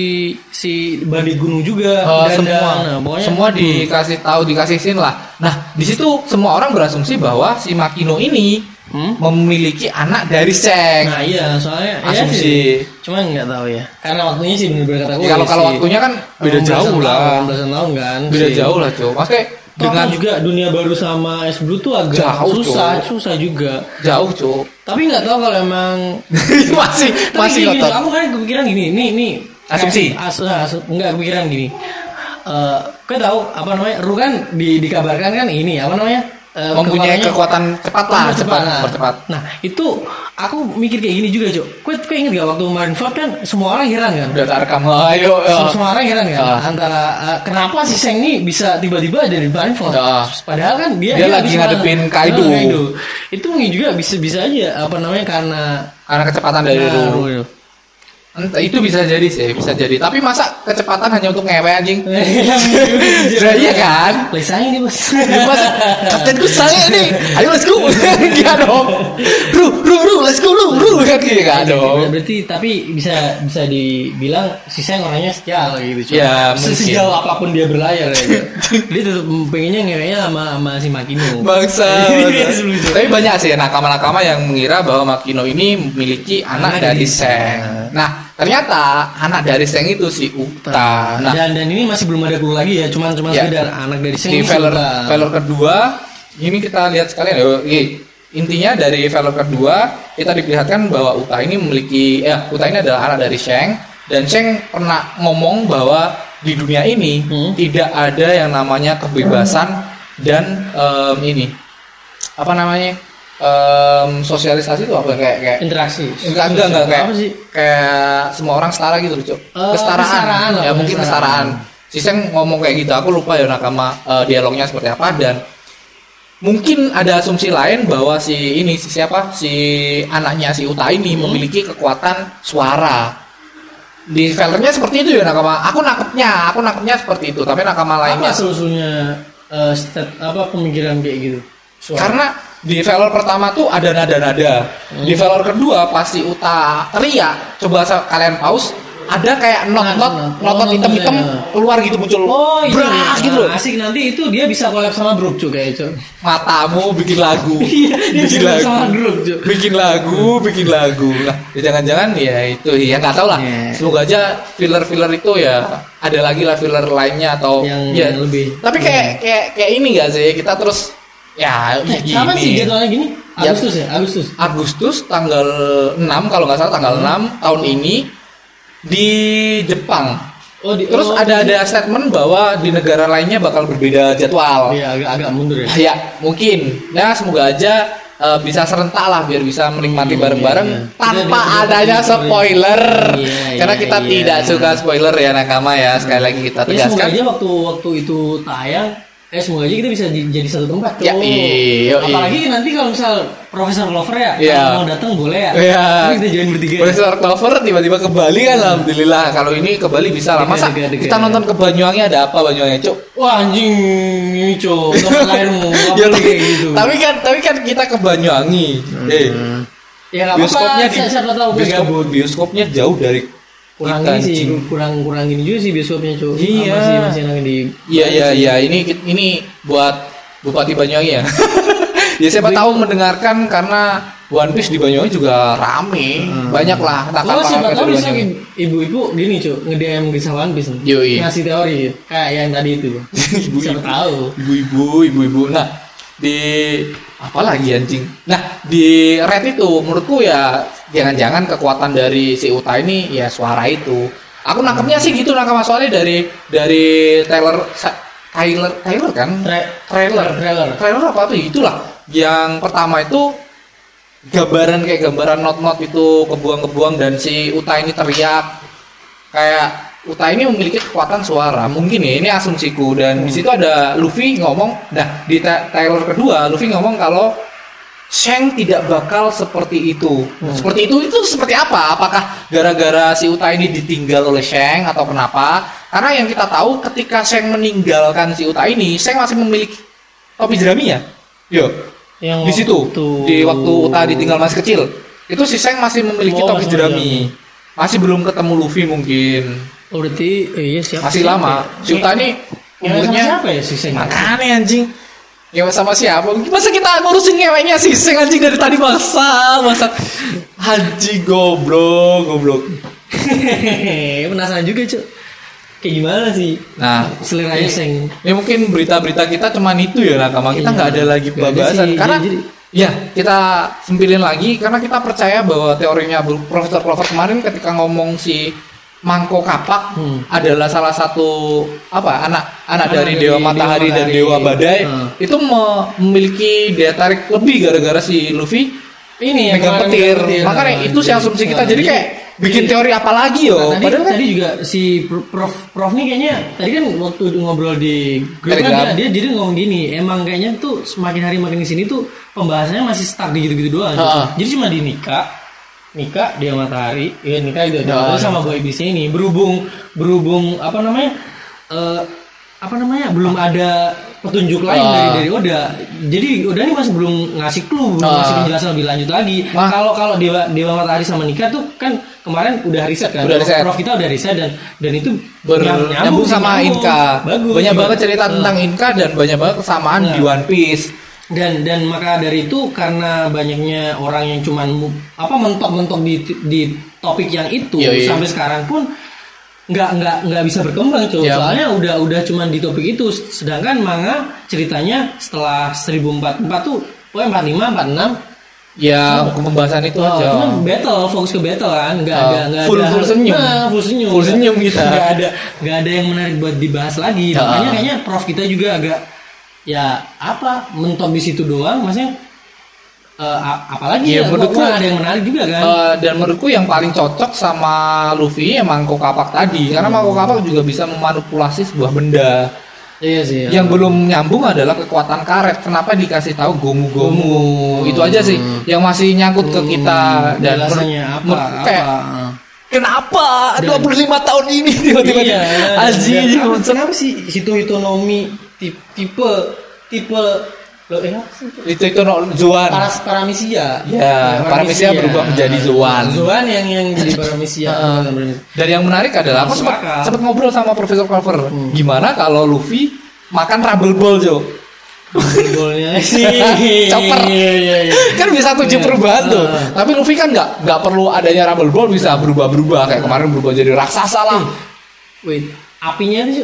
S2: si bandit gunung juga,
S1: Eh,
S2: Dandang.
S1: semua
S2: Nah, pokoknya-
S1: semua dikasih tahu dikasih scene lah. Nah di situ semua orang berasumsi bahwa si Makino ini
S2: Hmm?
S1: memiliki anak dari Seng.
S2: Nah iya, soalnya iya
S1: Eh, Asumsi.
S2: sih. Cuman nggak tahu ya. Karena waktunya sih bener-bener kata gue.
S1: Ya, kalau kalau waktunya kan beda jauh lah,
S2: Belasan tahun kan.
S1: beda
S2: sih.
S1: jauh lah cuy. Maksudnya
S2: Toh
S1: dengan
S2: juga dunia baru sama es blue tuh agak
S1: Jauh,
S2: susah,
S1: Cok.
S2: susah juga.
S1: jauh cuy.
S2: Tapi nggak tahu kalau
S1: <laughs>
S2: emang
S1: masih
S2: Tapi
S1: masih
S2: gini,
S1: ngotot.
S2: Aku kan kepikiran gini, nih nih kayak
S1: Asumsi?
S2: As, as- enggak kepikiran gini. Eh, kau tahu apa namanya? Ru kan di, dikabarkan kan ini apa namanya? Eh,
S1: mempunyai
S2: kekuatannya-
S1: kekuatan cepat lah, cepat,
S2: Nah,
S1: cepat.
S2: Nah, itu aku mikir kayak gini juga, Cok. Kue, kue inget gak waktu Marineford kan semua orang heran kan?
S1: Udah tak rekam, ayo. ya.
S2: Sem- Semua orang heran kan?
S1: Ah.
S2: Antara eh, kenapa si Seng ini bisa tiba-tiba ada di Marineford?
S1: Ah.
S2: Padahal kan dia,
S1: Dia
S2: habis makan-
S1: lagi ngadepin Kaido.
S2: Ah, Itu mungkin juga bisa-bisa aja apa namanya karena
S1: Karena kecepatan dari
S2: karena
S1: dulu.
S2: Ru itu.
S1: Entah, itu bisa jadi sih, bisa jadi. Tapi masa kecepatan hanya untuk ngewe anjing?
S2: <laughs>
S1: Nah,
S2: Iya
S1: iya kan?
S2: Lesanya nih bos.
S1: Ya, <laughs> masa
S2: <laughs>
S1: kaptenku saya nih. Ayo let's go. <laughs> Iya dong. Ru, ru, ru, let's go, ru, ru. Kan gitu kan
S2: Ber-
S1: dong.
S2: Berarti tapi bisa bisa dibilang si Seng orangnya sejauh gitu. Cuma
S1: Ya,
S2: se-
S1: mungkin.
S2: sejauh apapun dia berlayar
S1: <laughs>
S2: ya. gitu. dia tetap pengennya ngeweknya sama sama si Makino.
S1: <laughs> Bangsa.
S2: <laughs> Iya,
S1: bangsa. Eh,
S2: sebelum itu.
S1: Tapi banyak sih nakama-nakama yang mengira bahwa Makino ini memiliki
S2: Anak
S1: anak,
S2: dari
S1: dari Seng. Nah, ternyata anak dari Seng itu si Uta. Nah,
S2: dan dan ini masih belum ada clue lagi ya, cuman cuman
S1: Ya.
S2: sekedar anak dari Seng
S1: di
S2: ini
S1: Valor,
S2: suka.
S1: Valor kedua ini kita lihat sekalian ya. Oke. Intinya dari Valor kedua kita diperlihatkan bahwa Uta ini memiliki eh Uta ini adalah anak dari Sheng dan Sheng pernah ngomong bahwa di dunia ini
S2: Hmm.
S1: tidak ada yang namanya kebebasan dan em, ini apa namanya em, sosialisasi itu apa kayak kayak
S2: interaksi.
S1: Enggak, enggak, enggak kayak,
S2: Apa sih?
S1: kayak semua orang setara gitu loh, Cok.
S2: Eh,
S1: kesetaraan.
S2: kesetaraan lah,
S1: Ya mungkin kesetaraan.
S2: kesetaraan.
S1: Si Seng ngomong kayak gitu, aku lupa ya nakama eh, dialognya seperti apa dan mungkin ada asumsi lain bahwa si ini si siapa si anaknya si Uta ini
S2: Hmm.
S1: memiliki kekuatan suara. Di filternya seperti itu ya nakama. Aku nangkepnya, aku nangkepnya seperti itu. Tapi nakama
S2: Apa
S1: lainnya
S2: selusunya eh, stat- apa pemikiran kayak gitu? Suara.
S1: Karena di valor pertama tuh ada nada-nada.
S2: Hmm.
S1: Di valor kedua pasti uta teriak. Coba sa- kalian pause. Ada kayak not-not,
S2: Nah, nah.
S1: not-not
S2: Oh,
S1: hitam-hitam
S2: iya.
S1: keluar gitu muncul.
S2: Oh iya,
S1: Brak, gitu loh.
S2: Nah, asik nanti itu dia bisa collab sama Brook cuy kayak itu.
S1: Matamu bikin lagu.
S2: <laughs> Iya, dia bisa
S1: bikin
S2: collab sama
S1: lagu.
S2: Brook cuy.
S1: Bikin lagu, bikin lagu. Nah, ya jangan-jangan ya itu ya nggak tahu lah.
S2: Iya.
S1: Semoga aja filler-filler itu ya ada lagi lah filler lainnya atau
S2: Yang-
S1: ya.
S2: yang lebih. Iya.
S1: Tapi kayak kayak kayak ini gak sih kita terus ya gini.
S2: Sama sih jadwalnya gini?
S1: Ya.
S2: Agustus ya, Agustus.
S1: Agustus tanggal 6 kalau nggak salah tanggal 6 tahun ini di Jepang.
S2: Oh, di,
S1: Terus
S2: oh,
S1: ada ada statement bahwa di negara lainnya bakal berbeda jadwal.
S2: Iya, agak agak mundur ya.
S1: Ya, mungkin. Nah, semoga aja eh, bisa serentak lah biar bisa menikmati
S2: Hmm,
S1: bareng-bareng
S2: iya, iya.
S1: tanpa
S2: Kita tidak-
S1: adanya
S2: tidak-
S1: spoiler.
S2: Iya,
S1: Karena
S2: iya,
S1: kita
S2: iya.
S1: tidak suka spoiler ya nakama ya. Sekali lagi kita
S2: Ya semoga
S1: tegaskan.
S2: aja waktu waktu itu tayang eh semoga aja kita bisa j- jadi satu tempat tuh.
S1: Ya, iya, iya.
S2: Apalagi nanti kalau misal Profesor Lover ya,
S1: Iya.
S2: kalau mau datang boleh ya.
S1: Iya.
S2: Tapi kita join bertiga. ya.
S1: Profesor Clover tiba-tiba ke Bali kan alhamdulillah. Kalau ini ke Bali bisa lah. Masa
S2: Degan-degan.
S1: kita nonton ke Banyuwangi ada apa Banyuwangi, Cuk?
S2: Wah anjing ini cow, tempat
S1: <laughs>
S2: lainmu apa
S1: Ya,
S2: kayak gitu.
S1: Tapi kan tapi kan kita ke Banyuwangi. Eh,
S2: ya nggak
S1: bioskopnya
S2: apa-apa.
S1: di
S2: Siapa, siapa tahu gue
S1: bioskop-
S2: gabut.
S1: bioskopnya jauh dari
S2: Kurang
S1: kita,
S2: ini sih,
S1: anjing.
S2: kurang kurang ini juga sih bioskopnya cow.
S1: Iya.
S2: Masih masih yang di.
S1: Iya iya iya ini ini buat Bupati Banyuwangi ya. <laughs> ya siapa tahu mendengarkan karena One Piece di Banyuwangi juga rame. Banyak lah
S2: Kalau siapa tahu
S1: nakal-nakal dari
S2: bisa
S1: Banyuwangi.
S2: ibu-ibu gini cuy nge-DM kisah One Piece nih.
S1: Yoi.
S2: ngasih teori
S1: <laughs>
S2: kayak yang tadi itu.
S1: Ibu-ibu.
S2: siapa tahu.
S1: ibu-ibu ibu-ibu nah di apalagi anjing nah di red itu menurutku ya jangan-jangan kekuatan dari si Uta ini ya suara itu aku nangkepnya sih gitu nangkep soalnya dari dari Taylor Sa- Tyler Tyler kan
S2: Tra-
S1: trailer
S2: Trailer.
S1: trailer apa tuh itulah yang pertama itu gambaran kayak gambaran not-not itu kebuang-kebuang dan si Uta ini teriak kayak Uta ini memiliki kekuatan suara mungkin ya ini asumsiku dan di situ ada Luffy ngomong nah di ta- trailer kedua Luffy ngomong kalau Shang tidak bakal seperti itu seperti itu itu seperti apa apakah gara-gara si Uta ini ditinggal oleh Shang atau kenapa karena yang kita tahu ketika Shang meninggalkan si Uta ini Shang masih memiliki topi jerami ya yo
S2: Yang
S1: di situ
S2: waktu-
S1: di waktu Uta ditinggal masih kecil itu si Shang masih memiliki
S2: Oh,
S1: topi
S2: masih
S1: jerami masih belum ketemu Luffy mungkin
S2: Oh, berarti eh, iya siapa
S1: masih
S2: sih?
S1: lama si Uta
S2: Ya,
S1: ini
S2: sama
S1: umurnya
S2: siapa ya si Seng?
S1: makanya anjing ngewe sama siapa masa kita ngurusin ngeweknya si Seng anjing dari tadi masa masa anjing goblok goblok
S2: Hehehe, <laughs> penasaran juga cuk kayak gimana sih
S1: nah
S2: selera
S1: ini-
S2: Seng
S1: Ya mungkin berita-berita kita cuman itu ya nakama
S2: Iya.
S1: kita nggak ada lagi
S2: Nggak ada
S1: babasan
S2: sih,
S1: karena
S2: jadi-
S1: ya kita sempilin lagi karena kita percaya bahwa teorinya Bu- Profesor Clover kemarin ketika ngomong si Mangko Kapak
S2: Hmm.
S1: adalah salah satu apa anak
S2: Anak
S1: anak dari,
S2: dari
S1: Dewa
S2: Dewa
S1: Matahari dan
S2: Matahari.
S1: Dewa Badai
S2: Hmm.
S1: itu me- memiliki daya tarik lebih gara-gara si Luffy
S2: Ini yang Iya,
S1: megang
S2: kemarin
S1: petir.
S2: megang petir.
S1: Makanya
S2: Nah,
S1: itu sih
S2: jadi-
S1: asumsi kita.
S2: nah,
S1: Jadi
S2: jadi-
S1: kayak bikin
S2: jadi-
S1: teori apa lagi yo?
S2: Nah, tadi,
S1: Padahal kan
S2: tadi juga si Pro- Prof Prof nih kayaknya tadi kan waktu ngobrol di grup kan
S1: Telegram.
S2: dia, dia jadi ngomong gini, emang kayaknya tuh semakin hari makin di sini tuh pembahasannya masih stuck di gitu-gitu doang.
S1: Ha-ha.
S2: Jadi cuma di nikah, nikah dia matahari, ya nikah itu
S1: Ya,
S2: terus sama boy bis ini berhubung berhubung apa namanya eh, apa namanya belum ada petunjuk lain
S1: Ah.
S2: dari dari Oda. Jadi Oda ini masih belum ngasih clue, belum
S1: Ah.
S2: ngasih penjelasan lebih lanjut lagi.
S1: Wah.
S2: Kalau kalau Dewa Dewa Matahari sama Nikah tuh kan kemarin udah riset kan.
S1: Udah riset.
S2: Prof kita udah riset dan dan itu
S1: Ber-
S2: nyam-
S1: nyambung, sama
S2: nyambung.
S1: Inka.
S2: Bagus.
S1: banyak
S2: gitu.
S1: banget cerita
S2: Nah,
S1: tentang Inka dan banyak banget kesamaan
S2: Nah.
S1: di One Piece.
S2: dan dan maka dari itu karena banyaknya orang yang cuman mu- apa mentok-mentok di di topik yang itu
S1: Iya, iya.
S2: sampai sekarang pun nggak nggak nggak bisa berkembang cuy
S1: Iya.
S2: soalnya udah udah cuman di topik itu sedangkan manga ceritanya setelah 1044 tuh oh, pokoknya 45 46
S1: Ya, pembahasan itu
S2: Oh,
S1: aja.
S2: cuman battle, fokus ke battle kan, nggak
S1: Ah,
S2: ada nggak
S1: full-
S2: ada
S1: full senyum.
S2: Nah, full senyum,
S1: Full senyum kita.
S2: nggak ada nggak ada yang menarik buat dibahas lagi.
S1: Ah.
S2: Makanya kayaknya prof kita juga agak ya apa mentok di situ doang, maksudnya eh, a- apalagi ya,
S1: Iya,
S2: gua-
S1: menurutku-
S2: gua ada yang menarik juga kan.
S1: Eh, dan menurutku yang paling cocok sama Luffy ya Mangko Kapak tadi karena
S2: Hmm.
S1: Mangko Kapak juga bisa memanipulasi sebuah benda
S2: iya sih. ya.
S1: yang belum nyambung adalah kekuatan karet kenapa dikasih tahu gomu gomu itu aja sih yang masih nyangkut ke kita dan menurut-
S2: Hmm, Penjelasannya Hmm. apa?
S1: menurutku
S2: apa?
S1: kayak, kenapa 25 tahun ini <laughs> tiba-tiba
S2: Iya,
S1: Aji
S2: dan apa- kenapa sih itu ekonomi tipe tipe lo eh apa sih?
S1: itu itu no, Zuan
S2: Paras paramisia.
S1: Ya, paramisia berubah menjadi Zoan.
S2: Zoan yang yang jadi
S1: <laughs>
S2: paramisia. Iya,
S1: Heeh. Dan yang menarik adalah aku
S2: Masuk
S1: sempat,
S2: akal.
S1: sempat ngobrol sama Profesor Clover.
S2: Hmm.
S1: Gimana kalau Luffy makan Rumble Ball, Jo? <laughs>
S2: Golnya sih.
S1: Chopper.
S2: Iya, iya, iya.
S1: kan bisa tujuh
S2: Iya.
S1: perubahan tuh.
S2: Ah.
S1: Tapi Luffy kan nggak nggak perlu adanya Rumble Ball bisa
S2: Ah.
S1: berubah-berubah kayak kemarin berubah jadi raksasa lah.
S2: Wait, apinya itu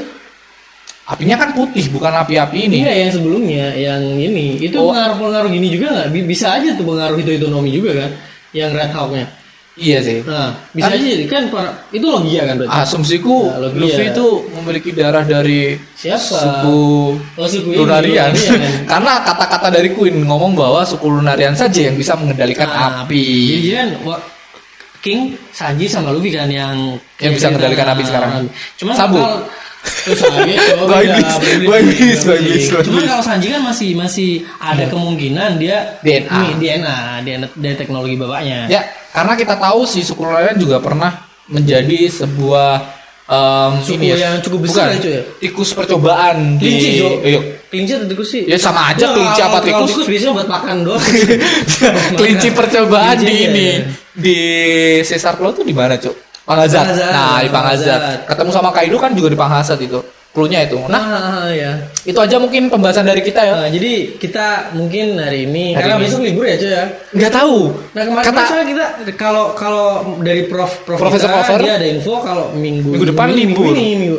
S1: Apinya kan putih bukan api-api ini.
S2: iya yang sebelumnya, yang ini itu
S1: Oh.
S2: pengaruh-pengaruh gini juga nggak? Bi- Bisa aja tuh pengaruh itu ekonomi juga kan? Yang Red Hawk-nya.
S1: Iya sih.
S2: Nah, bisa
S1: Kan-
S2: aja jadi kan para itu logia kan berarti.
S1: Asumsiku
S2: Nah, Luffy
S1: Luffy
S2: ya.
S1: itu memiliki darah dari
S2: Siapa? Iya,
S1: suku
S2: Oh, suku ini,
S1: Lunarian.
S2: Lunarian.
S1: <laughs> Karena kata-kata dari Queen ngomong bahwa suku Lunarian saja yang bisa mengendalikan
S2: Nah,
S1: api.
S2: Jadi kan wa- King, Sanji sama Luffy kan yang
S1: Yang bisa mengendalikan api sekarang.
S2: Cuma
S1: Sabu.
S2: kalau- Terus lagi
S1: <laughs>
S2: coba
S1: Gua
S2: ya,
S1: iblis,
S2: beli-
S1: gua
S2: beli-
S1: iblis, gua
S2: beli.
S1: iblis, gua
S2: Cuma
S1: iblis.
S2: kalau Sanji kan masih masih ada
S1: Hmm.
S2: kemungkinan dia
S1: DNA.
S2: Nih, DNA, DNA dari teknologi bapaknya.
S1: Ya, karena kita tahu si suku Lunarian juga pernah menjadi sebuah em,
S2: Suku
S1: ini ya,
S2: yang cukup besar ya,
S1: bukan,
S2: cuy, ya?
S1: Tikus percobaan
S2: Kelinci,
S1: di
S2: Jo. <laughs>
S1: Iya.
S2: Kelinci atau tikus sih?
S1: Ya sama aja
S2: Nah,
S1: kelinci apa
S2: kalau- kalau
S1: tikus.
S2: biasanya buat makan doang.
S1: <laughs> kelinci percobaan
S2: Kelinci,
S1: di
S2: iya,
S1: ini
S2: iya.
S1: di Caesar Claw tuh di mana, Cuk? Pangazat.
S2: Pangazat.
S1: Nah, di Pangazat.
S2: Pangazat.
S1: Ketemu sama Kaido kan juga di Pangazat itu. Cluenya itu. Nah,
S2: Nah, ya.
S1: itu aja mungkin pembahasan dari kita ya.
S2: Nah, jadi kita mungkin hari ini
S1: Hari
S2: karena
S1: ini.
S2: besok libur ya cuy ya.
S1: Nggak tahu.
S2: Nah kemarin
S1: Kata
S2: soalnya kita kalau kalau dari prof prof
S1: Profesor
S2: kita,
S1: Clover.
S2: dia ada info kalau minggu
S1: Minggu depan
S2: minggu ini,
S1: libur.
S2: minggu ini, minggu,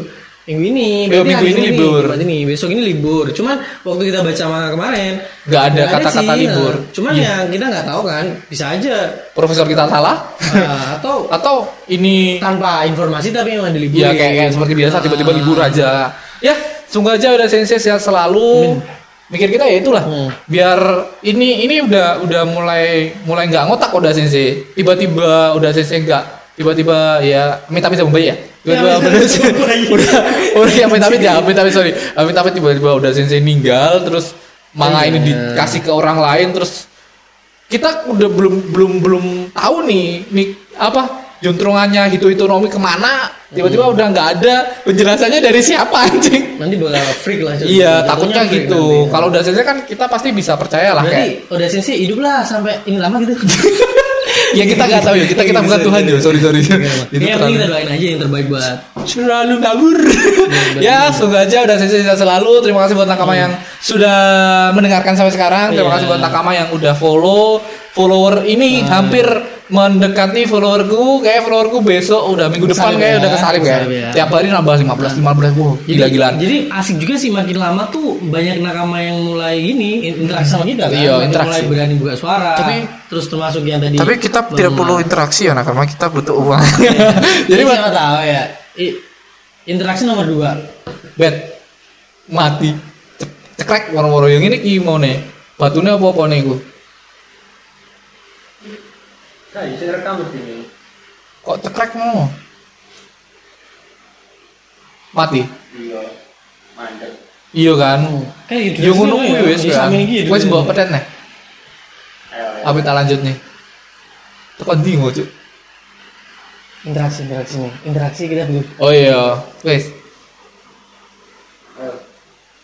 S2: minggu ini
S1: Iya,
S2: berarti
S1: minggu
S2: hari
S1: ini libur.
S2: berarti nih besok ini libur cuman waktu kita baca manga kemarin
S1: Nggak ada
S2: nggak
S1: kata-kata
S2: sih,
S1: libur. Iya.
S2: nah. cuman yang kita nggak tahu kan bisa aja
S1: Profesor kita salah <laughs>
S2: eh, atau
S1: atau ini
S2: tanpa informasi tapi memang diliburin
S1: ya kayak, kayak seperti biasa tiba-tiba
S2: Ah.
S1: libur aja. Ya, semoga aja udah sensei sehat selalu. Mikir kita ya itulah.
S2: Hmm.
S1: Biar ini ini udah udah mulai mulai nggak ngotak udah sensei. Tiba-tiba udah sensei nggak tiba-tiba ya minta bisa membaik ya. Tiba-tiba <laughs>
S2: Ya, amit-amit
S1: bener-
S2: sama bayi.
S1: udah udah ya minta ya minta sorry. Minta tiba-tiba udah sensei meninggal terus manga ini dikasih ke orang lain terus kita udah belum belum belum tahu nih nih apa juntrungannya itu itu nomi kemana tiba-tiba udah nggak ada penjelasannya dari siapa anjing
S2: nanti bakal freak lah jatuh-
S1: iya
S2: jatuhnya
S1: takutnya
S2: freak
S1: gitu
S2: nanti.
S1: kalau udah selesai kan kita pasti bisa percaya lah
S2: berarti
S1: kayak
S2: udah sensei hidup lah sampai ini lama
S1: <laughs>
S2: gitu
S1: ya kita <laughs> nggak tahu ya kita kita bukan Tuhan ya sorry sorry itu
S2: ya
S1: terlalu-
S2: mending kita doain aja yang terbaik buat
S1: selalu ngawur ya semoga aja udah sesi sesi selalu terima kasih buat nakama yang sudah mendengarkan sampai sekarang
S2: Hmm.
S1: terima
S2: Iya.
S1: kasih buat nakama yang udah follow follower ini
S2: Nah,
S1: hampir
S2: iya.
S1: mendekati followerku kayak followerku besok udah minggu depan
S2: Kesalip
S1: kayak
S2: ya,
S1: udah kesalip kayak
S2: kesalip ya.
S1: tiap hari nambah 15 15 wow gila-gilaan
S2: Jadi asik juga sih makin lama tuh banyak nakama yang mulai gini in- interaksi sama kita kan.
S1: Iya,
S2: Yang
S1: interaksi.
S2: Mulai berani buka suara.
S1: Tapi-
S2: terus termasuk yang tadi. Bang-
S1: interaksi ya nakama kita butuh <laughs> uang
S2: <laughs> Jadi
S1: jadi buat-
S2: siapa tahu ya. i- interaksi nomor dua.
S1: bet mati Cek- cekrek moro-moro yang ini gimana batunya apa apa nih gua kok cekrek mau mati iya kan
S2: Kan interaksi
S1: yo ngono
S2: ya,
S1: kuwi wis
S2: di
S1: kan
S2: samping iki gitu.
S1: wis mbok petet neh apa kita lanjut nih tekan ndi Ngo, Cuk?
S2: Interaksi interaksi nih. Interaksi kita belum.
S1: oh iya wis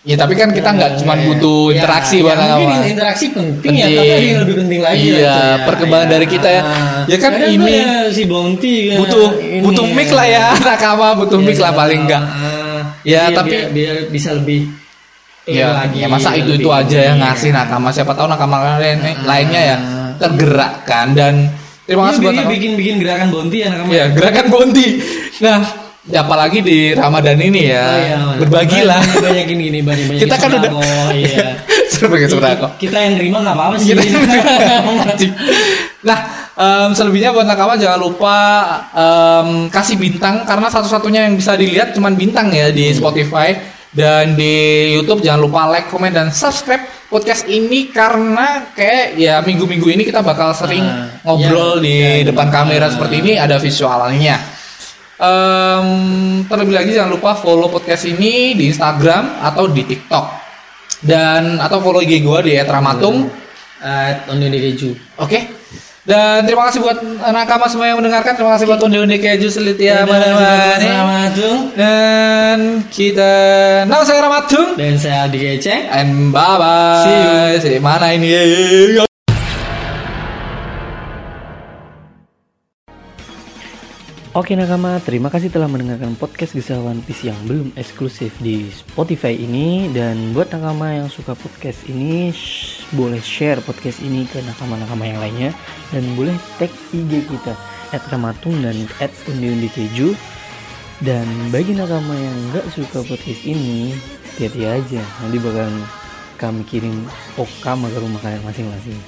S1: Ya tapi kan kita nggak cuma butuh
S2: Ya,
S1: interaksi
S2: ya,
S1: barang
S2: mungkin
S1: apa.
S2: interaksi penting, ya, tapi ada yang lebih penting lagi.
S1: Iya,
S2: lah, cuy,
S1: perkembangan dari kita ya. Ya kan
S2: Kadang tuh
S1: ini
S2: ya, si Bounty kan,
S1: butuh
S2: ini Iya,
S1: butuh mic lah ya <laughs> nakama butuh mic lah paling enggak
S2: Ah, jadi
S1: Ya, tapi-
S2: biar, biar bisa lebih
S1: ya,
S2: Iya lagi,
S1: ya masa itu itu
S2: lebih-
S1: aja yang ngasih nakama siapa tahu nakama lain lainnya ya tergerakkan dan
S2: Ah. Iya,
S1: terima kasih buat
S2: bikin,
S1: nakama.
S2: bikin bikin gerakan Bounty ya nakama.
S1: ya gerakan bonti nah ya apalagi di Ramadan ini ya
S2: Oh, iya, Mas.
S1: berbagilah
S2: Banyak- banyakin gini banyak banyak
S1: kita kan udah <laughs>
S2: iya.
S1: sebagai sodako.
S2: kita yang terima nggak apa-apa sih
S1: Kita- Anjing. nah em, selebihnya buat nakama jangan lupa em, kasih bintang karena satu-satunya yang bisa dilihat cuman bintang ya di Spotify dan di YouTube jangan lupa like, komen dan subscribe podcast ini karena kayak ya minggu-minggu ini kita bakal sering
S2: Ah, ya.
S1: ngobrol di
S2: Ya,
S1: depan
S2: ya.
S1: kamera seperti ini ada visualnya. Em, terlebih lagi jangan lupa follow podcast ini di Instagram atau di TikTok dan atau follow IG gua di @ramatung.
S2: Eh, Tony Dekeju.
S1: Oke. Dan terima kasih buat nakama semua yang mendengarkan. Terima kasih buat undi-undi keju selitia mana
S2: Selamat Tung.
S1: Dan kita Nama saya Ramatung
S2: dan saya Aldi Keceng
S1: And bye bye
S2: See you.
S1: See you Mana ini Iya,
S3: Oke nakama, terima kasih telah mendengarkan podcast Gisel One Piece yang belum eksklusif di Spotify ini Dan buat nakama yang suka podcast ini, shh, boleh share podcast ini ke nakama-nakama yang lainnya Dan boleh tag IG kita, at ramatung dan at keju Dan bagi nakama yang nggak suka podcast ini, hati-hati aja Nanti bakalan kami kirim okam ke rumah kalian masing-masing